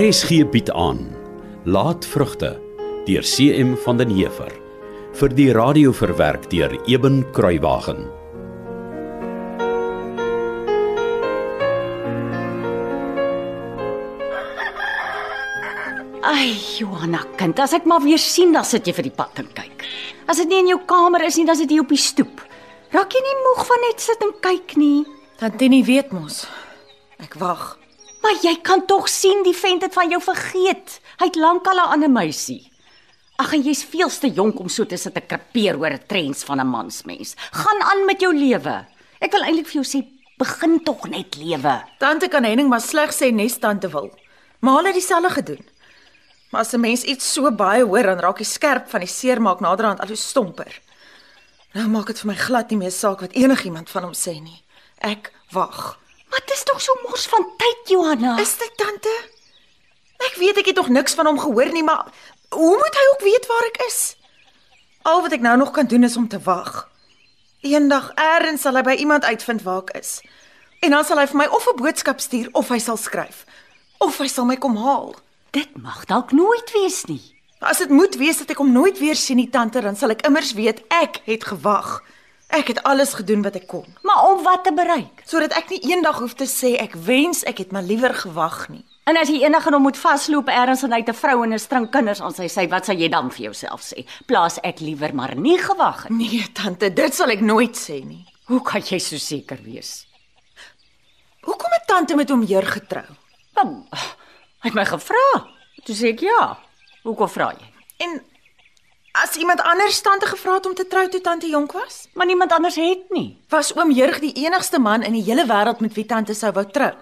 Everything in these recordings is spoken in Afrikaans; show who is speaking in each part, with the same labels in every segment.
Speaker 1: RSG bied aan Laatvrugte deur CM van den Heever vir die radio verwerk deur Eben Kruiwagen.
Speaker 2: Ai, Johanna kind, as ek maar weer sien dan sit jy vir die pad en kyk. As dit nie in jou kamer is nie, dan sit jy op die stoep. Raak jy nie moeg van net sit en kyk nie?
Speaker 3: Tantini weet mos. Ek wag.
Speaker 2: Maar jy kan tog sien die vent het van jou vergeet. Hy het lankal 'n ander meisie. Ag, en jy's veel te jonk om so te sit te krepeer oor 'n trends van 'n mansmens. Gaan aan met jou lewe. Ek wil eintlik vir jou sê, begin tog net lewe.
Speaker 3: Tante kan Henning maar sleg sê nes tante wil. Maar hulle het dieselfde gedoen. Maar as 'n mens iets so baie hoor, dan raak jy skerp van die seermaak naderhand al hoe stomper. Nou maak dit vir my glad nie meer saak wat enigiemand van hom sê nie. Ek wag.
Speaker 2: Maar dit is tog so mors van tyd, Johanna.
Speaker 3: Is dit tante? Ek weet ek het nog niks van hom gehoor nie, maar hoe moet hy ook weet waar ek is? Al wat ek nou nog kan doen is om te wag. Eendag eers sal hy by iemand uitvind waar ek is. En dan sal hy vir my of 'n boodskap stuur of hy sal skryf of hy sal my kom haal.
Speaker 2: dit mag dalk nooit wees nie.
Speaker 3: As dit moet wees dat ek hom nooit weer sien nie, tante, dan sal ek immers weet ek het gewag. Ek het alles gedoen wat ek kon,
Speaker 2: Maar om wat te bereik?
Speaker 3: sodat ek nie eendag hoef te sê ek wens ek het maar liewer gewag nie.
Speaker 2: En as jy enige hom moet vasloop ergens en hy het 'n vrou en 'n string kinders aan sy sy, wat sal jy dan vir jouself sê? Plaas ek liewer maar nie gewag het.
Speaker 3: Nee, tante, dit sal ek nooit sê nie.
Speaker 2: Hoe kan jy so seker wees?
Speaker 3: Hoekom het tante met hom heer getrou?
Speaker 2: Bam. Hy het my gevra. Toe sê ek ja. Hoekom vra jy?
Speaker 3: En as iemand anders tante gevra het om te trou toe tante jonk was,
Speaker 2: Maar niemand anders het nie.
Speaker 3: was oom Jurg die enigste man in die hele wêreld met wie tante sou wou trou.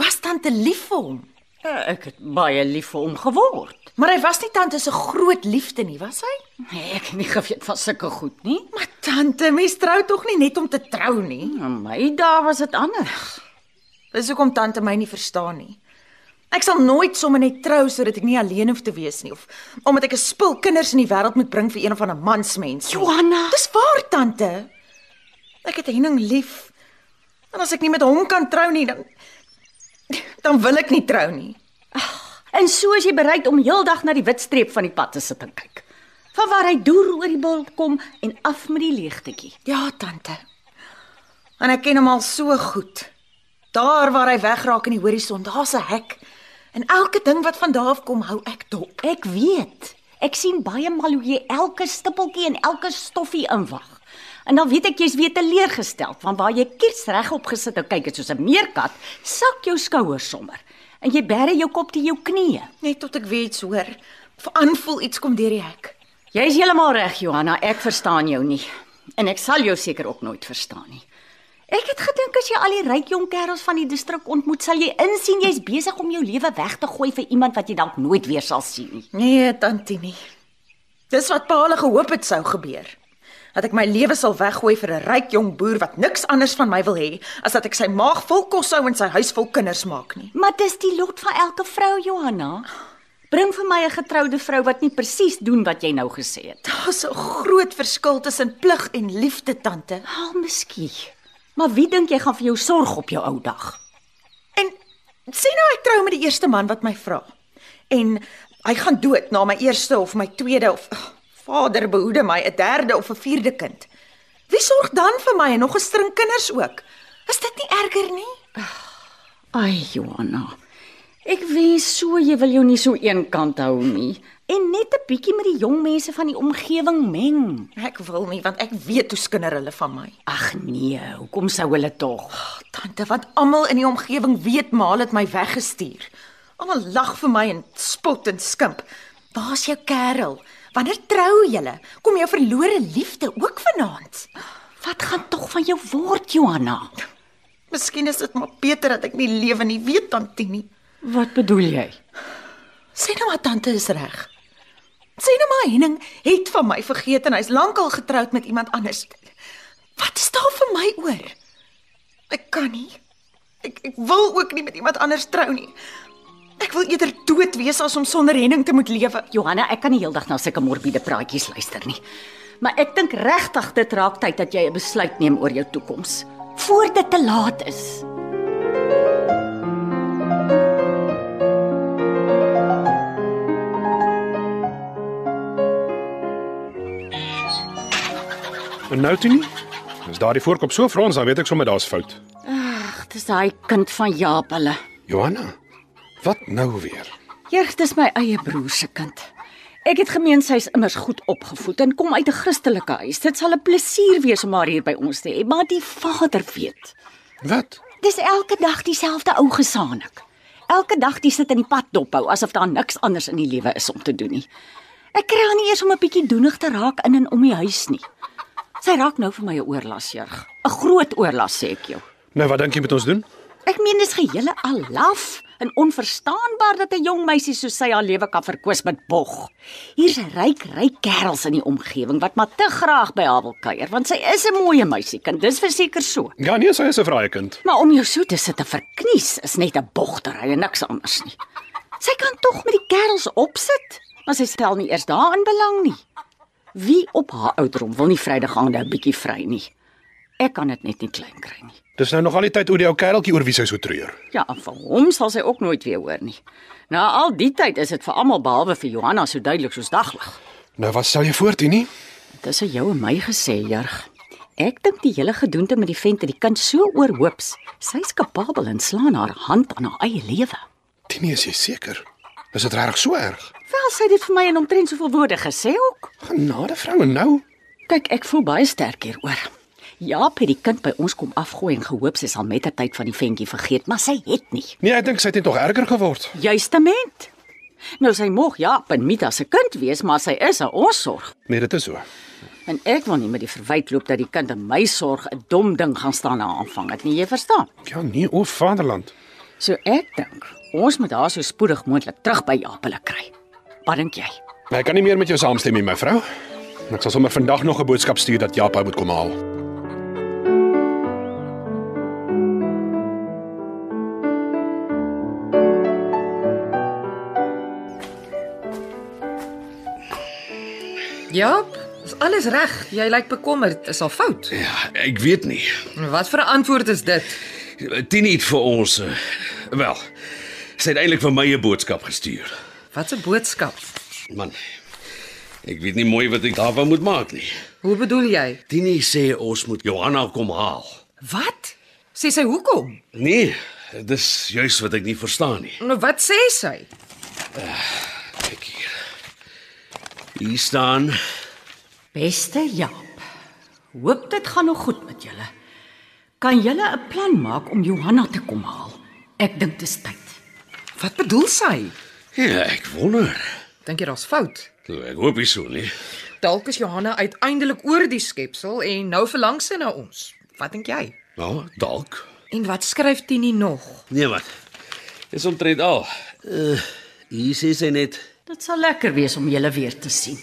Speaker 3: Was tante lief vir hom,
Speaker 2: Eh, Ek het baie lief vir hom geword.
Speaker 3: maar hy was nie tante se groot liefde nie, was hy?
Speaker 2: Nee, ek het nie geweet van sulke goed nie.
Speaker 3: Maar tante, mens trou tog nie net om te trou nie.
Speaker 2: In my dae was dit anders.
Speaker 3: Dis hoekom tante my nie verstaan nie. Ek sal nooit sommer net trou sodat ek nie alleen hoef te wees nie of omdat ek 'n spul kinders in die wêreld moet bring vir een van 'n mansmens. nie.
Speaker 2: Johanna.
Speaker 3: Dis waar tante. Ek het Henning lief. En as ek nie met hom kan trou nie, dan dan wil ek nie trou nie.
Speaker 2: En so is jy bereid om heeldag na die wit streep van die pad te sit en kyk. Van waar hy deur oor die bil kom en af met die leegtetjie.
Speaker 3: Ja, tante. En ek ken hom al so goed. Daar waar hy wegraak in die horison, daar's 'n hek. En elke ding wat van daar af kom, hou ek dop.
Speaker 2: Ek weet. Ek sien baie maal hoe jy elke stippeltjie en elke stoffie inwag. En dan weet ek jy's weer teleurgestel van waar jy kies regop gesit en kyk het soos 'n meerkat, sak jou skouers sommer en jy bære jou kop te jou knieë.
Speaker 3: Net tot ek weer iets hoor. Of aanvoel iets kom deur die hek.
Speaker 2: Jy's heeltemal reg, Johanna, ek verstaan jou nie. En ek sal jou seker ook nooit verstaan nie. Ek het gedink as jy al die ryk jong kerels van die distrik ontmoet, sal jy insien jy's besig om jou lewe weg te gooi vir iemand wat jy dalk nooit weer sal sien nie.
Speaker 3: Nee, tantini. Dis wat pa hulle gehoop het sou gebeur. Dat ek my lewe sal weggooi vir 'n ryk jong boer wat niks anders van my wil hê as dat ek sy maag vol kos hou en sy huis vol kinders maak nie.
Speaker 2: Maar dis die lot van elke vrou, Johanna. Bring vir my 'n getroude vrou wat nie presies doen wat jy nou gesê het.
Speaker 3: Daar's 'n groot verskil tussen plig en liefde, tante.
Speaker 2: Al miskien. Maar wie dink jy gaan vir jou sorg op jou ou dag?
Speaker 3: En sien nou ek trou met die eerste man wat my vra. En hy gaan dood na my eerste of my tweede of oh, vader behoede my 'n derde of 'n vierde kind. Wie sorg dan vir my en nog 'n string kinders ook? Is dit nie erger nie?
Speaker 2: Ai, Johanna. Ek wens so jy wil jou nie so eenkant hou nie en net 'n bietjie met die jong mense van die omgewing meng.
Speaker 3: Ek wil nie want ek weet hoe skinder hulle van my.
Speaker 2: Ag nee, hoekom sou hulle tog?
Speaker 3: Oh, tante, want almal in die omgewing weet maar hulle het my weggestuur. Almal lag vir my en spot en skimp. Waar's jou kerel? Wanneer trou julle? Kom jou verlore liefde ook vanaand?
Speaker 2: Wat gaan tog van jou word, Johanna?
Speaker 3: Miskien is dit maar beter dat ek nie lewe nie, weet tantie nie.
Speaker 2: Wat bedoel jy?
Speaker 3: Sê nou maar tante is reg. Sê nou maar Henning het van my vergeet en hy's lankal getroud met iemand anders. Wat is daar vir my oor? Ek kan nie. Ek ek wil ook nie met iemand anders trou nie. Ek wil eerder dood wees as om sonder Henning te moet lewe.
Speaker 2: Johanna, ek kan nie heeldag na sulke morbiede praatjies luister nie. Maar ek dink regtig dit raak tyd dat jy 'n besluit neem oor jou toekoms voor dit te laat is.
Speaker 4: En nou toe nie. As daardie voorkop so frons, dan weet ek sommer daar's fout.
Speaker 2: Ag, dis daai kind van Jaap hulle.
Speaker 4: Johanna, wat nou weer?
Speaker 2: Jeug, dis my eie broer se kind. Ek het gemeen sy is immers goed opgevoed en kom uit 'n Christelike huis. Dit sal 'n plesier wees om haar hier by ons te hê, maar die vader weet.
Speaker 4: Wat?
Speaker 2: Dis elke dag dieselfde ou gesaanik. Elke dag die sit in die pad dophou asof daar niks anders in die lewe is om te doen nie. Ek kry haar nie eers om 'n bietjie doenig te raak in en om die huis nie. Sy raak nou vir my 'n oorlas, Jeug. 'n Groot oorlas sê ek jou.
Speaker 4: Nou wat dink jy moet ons doen?
Speaker 2: Ek meen dis gehele al laf en onverstaanbaar dat 'n jong meisie soos sy haar lewe kan verkwis met bog. Hier's ryk, ryk kerels in die omgewing wat maar te graag by haar wil kuier want sy is 'n mooi meisiekind. Dis verseker so.
Speaker 4: Ja nee, sy is 'n vrye kind.
Speaker 2: Maar om jou so te sit te verknies is net 'n bogtery en niks anders nie. Sy kan tog met die kerels opsit, maar sy stel nie eers daarin belang nie. Wie op haar ouderdom wil nie Vrydag aande 'n bietjie vry nie. Ek kan dit net nie klein kry nie.
Speaker 4: Dis nou nog al die tyd oor die ou kereltjie oor wie sy so treur.
Speaker 2: Ja, en vir hom sal sy ook nooit weer hoor nie. Na al die tyd is dit vir almal behalwe vir Johanna so duidelik soos daglig.
Speaker 4: Nou wat stel jy voor, Tini?
Speaker 2: Dit is aan jou en my gesê, Jurg. Ek dink die hele gedoente met die vent en die kind so oorhoops. Sy's kapabel en slaan haar hand aan haar eie lewe.
Speaker 4: Tini, is jy seker? Is dit regtig so erg?
Speaker 2: Wel, sy het dit vir my in omtrent soveel woorde gesê ook.
Speaker 4: Genade vroue, nou.
Speaker 2: Kyk, ek voel baie sterk hieroor. Jaap het die kind by ons kom afgooi en gehoop sy sal met die tyd van die ventjie vergeet, maar sy het nie.
Speaker 4: Nee, ek dink sy het net nog erger geword.
Speaker 2: Juistament. Nou sy mag Jaap en Mita se kind wees, maar sy is 'n ons sorg.
Speaker 4: Nee, dit is so.
Speaker 2: En ek wil nie met die verwyd loop dat die kind in my sorg 'n dom ding gaan staan na aanvang. Het nie jy verstaan?
Speaker 4: Ja nee, o vaderland.
Speaker 2: So ek dink ons moet haar so spoedig moontlik terug by Japele kry. Wat dink jy?
Speaker 4: Maar ek kan nie meer met jou saamstem nie, my vrou. En Ek sal sommer vandag nog 'n boodskap stuur dat Jaap haar moet kom haal.
Speaker 5: Ja, is alles reg. Jy lyk bekommerd. Is al fout.
Speaker 6: Ja, ek weet nie.
Speaker 5: Wat vir 'n antwoord is dit?
Speaker 6: Tini het vir ons eh, wel. Sy het eintlik vir my 'n boodskap gestuur.
Speaker 5: Wat 'n boodskap.
Speaker 6: Man. Ek weet nie mooi wat ek daarvan moet maak nie.
Speaker 5: Hoe bedoel jy?
Speaker 6: Tini sê ons moet Johanna kom haal.
Speaker 5: Wat? Sê sy hoekom?
Speaker 6: Nee, dis juis wat ek nie verstaan nie.
Speaker 5: Nou wat sê sy?
Speaker 6: Kyk hier. Hier staan
Speaker 2: Beste Jaap. Hoop dit gaan nog goed met julle. Kan julle 'n plan maak om Johanna te kom haal? Ek dink dit is tyd.
Speaker 5: Wat bedoel sy?
Speaker 6: Ja, ek wonder.
Speaker 5: Dink jy daar's fout?
Speaker 6: Nou, ek hoop nie so nie.
Speaker 5: Dalk is Johanna uiteindelik oor die skepsel en nou verlang sy na ons. Wat dink jy?
Speaker 6: Ja, dalk.
Speaker 5: En wat skryf Tini nog?
Speaker 6: Nee, wat. Dis omtrent al. Uh, hier sê sy net
Speaker 2: Dit sal lekker wees om julle weer te sien.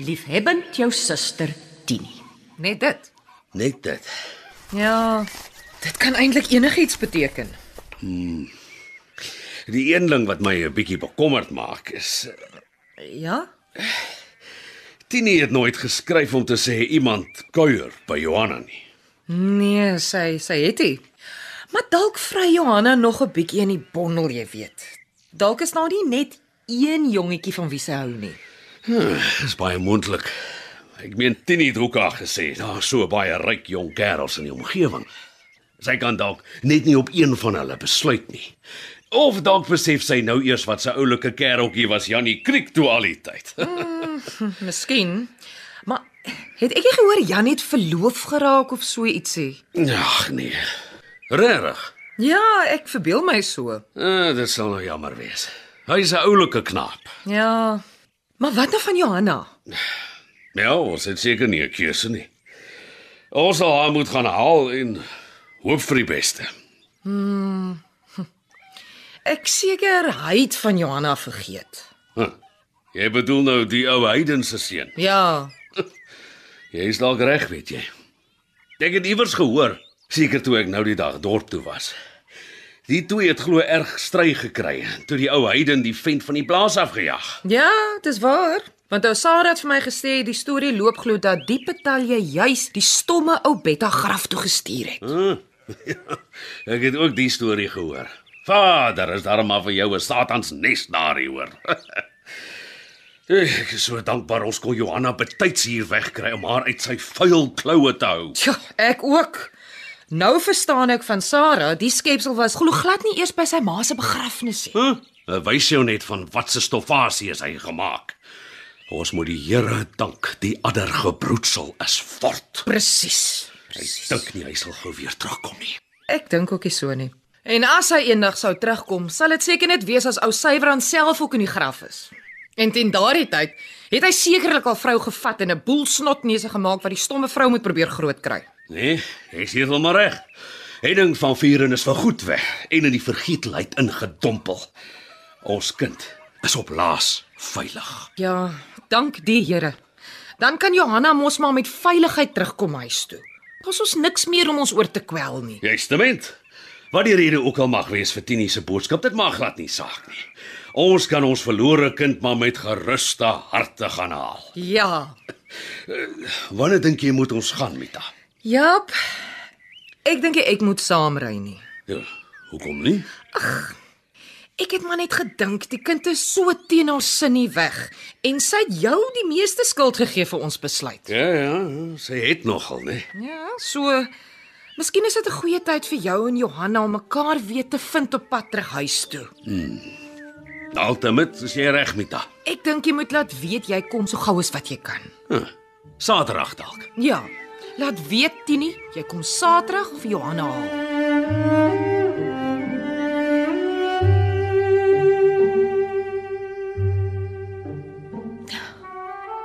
Speaker 2: Liefhebbend jou suster Tini.
Speaker 5: Net dit.
Speaker 6: net dit.
Speaker 5: Ja, dit kan eintlik enigiets beteken.
Speaker 6: Die een ding wat my 'n bietjie bekommerd maak is
Speaker 5: Ja?
Speaker 6: Tini het nooit geskryf om te sê iemand kuier by Johanna nie.
Speaker 5: Nee, sy sy het hy. Maar dalk vry Johanna nog 'n bietjie in die bondel, jy weet. Dalk is daar nie net een jongetjie van wie sy hou nie.
Speaker 6: Dis baie moontlik. Ek meen Tini het ook al gesê daar's so baie ryk jong kerels in die omgewing. Sy kan dalk net nie op een van hulle besluit nie. Of dalk besef sy nou eers wat 'n oulike kereltjie was Jannie Kriek toe al die tyd.
Speaker 5: Miskien. Maar het ek nie gehoor Jan het verloof geraak of so ietsie?
Speaker 6: Ag nee. Regtig.
Speaker 5: Ja, ek verbeel my so.
Speaker 6: Uh, dit sal nou jammer wees. Hy's 'n oulike knaap.
Speaker 5: Ja. Maar wat nou van Johanna?
Speaker 6: Ja, ons het seker nie 'n keuse nie. Ons sal haar moet gaan haal en hoop vir die beste.
Speaker 5: Ek seker hy het van Johanna vergeet.
Speaker 6: Huh. Jy bedoel nou die ou Hayden se seun.
Speaker 5: Ja.
Speaker 6: Jy is dalk reg, weet jy. Ek het iewers gehoor, seker toe ek nou die dag dorp toe was. Die twee het glo erg stry gekry toe die ou Hayden die vent van die plaas afgejaag.
Speaker 5: Ja, dis waar. Want ou Sarah het vir my gesê die storie loop glo dat die betalje juis die stomme ou Betta graf toe gestuur het.
Speaker 6: Huh? Ek het ook die storie gehoor. Vader, is daar maar vir jou 'n satansnes daar hier hoor. Ek is so dankbaar ons kon Johanna betyds hier wegkry om haar uit sy vuil kloue te hou.
Speaker 5: Tjoh, ek ook. Nou verstaan ek van Sarah, die skepsel was glo glad nie eers by sy ma se begrafnis nie.
Speaker 6: Huh? Dit Wys jou net van watse stoffasie is hy gemaak. Ons moet die Here dank, die adder gebroedsel is fort.
Speaker 5: Presies.
Speaker 6: Hy dink nie hy sal gou weer terugkom nie.
Speaker 5: Ek dink ook nie so nie. En as hy eendag sou terugkom, sal dit seker net wees as ou Sybrand self ook in die graf is. En teen daardie tyd het hy sekerlik al vrou gevat en 'n boel snotneuse gemaak wat die stomme vrou moet probeer grootkry.
Speaker 6: Nee, hy is heeltemal reg. Henning van Vieren is vir goed weg en in die vergetelheid ingedompel. Ons kind is op laas veilig.
Speaker 5: Ja, dank die Here. Dan kan Johanna mos maar met veiligheid terugkom huis toe. Daar's ons niks meer om ons oor te kwel nie.
Speaker 6: Justament. Wat die rede ook al mag wees vir Tini se boodskap, dit maak glad nie saak nie. Ons kan ons verlore kind maar met geruste harte gaan haal.
Speaker 5: Ja.
Speaker 6: Wanneer dink jy moet ons gaan, Mita?
Speaker 5: Jap. Ek dink nie ek moet saamry nie.
Speaker 6: Ja, hoekom nie?
Speaker 5: Ek het maar net gedink die kind is so teen haar sin nie weg en sy het jou die meeste skuld gegee vir ons besluit.
Speaker 6: Ja, ja, sy het nogal, nee. né?
Speaker 5: Ja, so Miskien is dit 'n goeie tyd vir jou en Johanna om mekaar weer te vind op pad terug huis toe.
Speaker 6: Altemat is jy reg, Mita.
Speaker 5: Ek dink jy moet laat weet jy kom so gou as wat jy kan.
Speaker 6: Huh. Saterdag dalk.
Speaker 5: Ja, laat weet Tini, jy kom Saterdag of Johanna haal.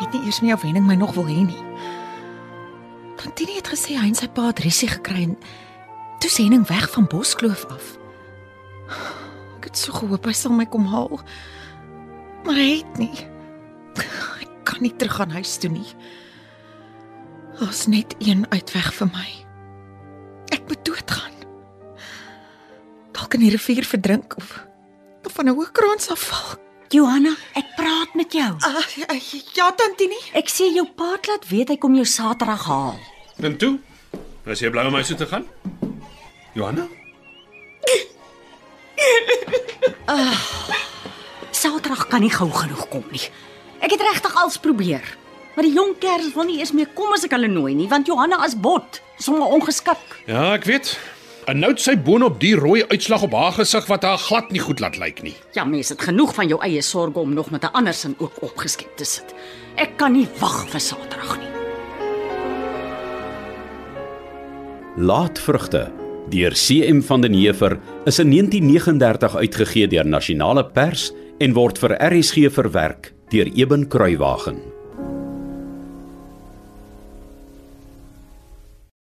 Speaker 3: Weet nie eers meer of Henning my nog wil hê nie. Tantini het gesê hy en sy pa het rusie gekry en toe sê Henning weg van Boskloof af. Ek het so gehoop hy sal my kom haal. Maar hy het nie. Ek kan nie terug gaan huis toe nie. Daar's net een uitweg vir my. Ek moet doodgaan. Dalk in die rivier verdrink of of van 'n hoë kraans afval.
Speaker 2: Johanna, ek praat met jou.
Speaker 3: Ah, ja, Tantini.
Speaker 2: Ek sê jou pa het laat weet hy kom jou Saterdag haal.
Speaker 7: En toe? Was jy bly om my so te gaan? Johanna?
Speaker 2: Saterdag kan nie gou genoeg kom nie. Ek het regtig als probeer. Maar die jong kerels wil nie eers meer kom as ek hulle nooi nie, want Johanna is bot, sommer ongeskik.
Speaker 4: Ja, ek weet. En nou het sy boonop die rooi uitslag op haar gesig wat haar glad nie goed laat lyk nie.
Speaker 2: Ja, mense het genoeg van jou eie sorges om nog met 'n ander sin ook opgeskep te sit. Ek kan nie wag vir Saterdag nie.
Speaker 1: Laatvrugte deur CM van den Heever is in 1939 uitgegee deur Nasionale Pers en word vir RSG verwerk deur Eben Kruiwagen.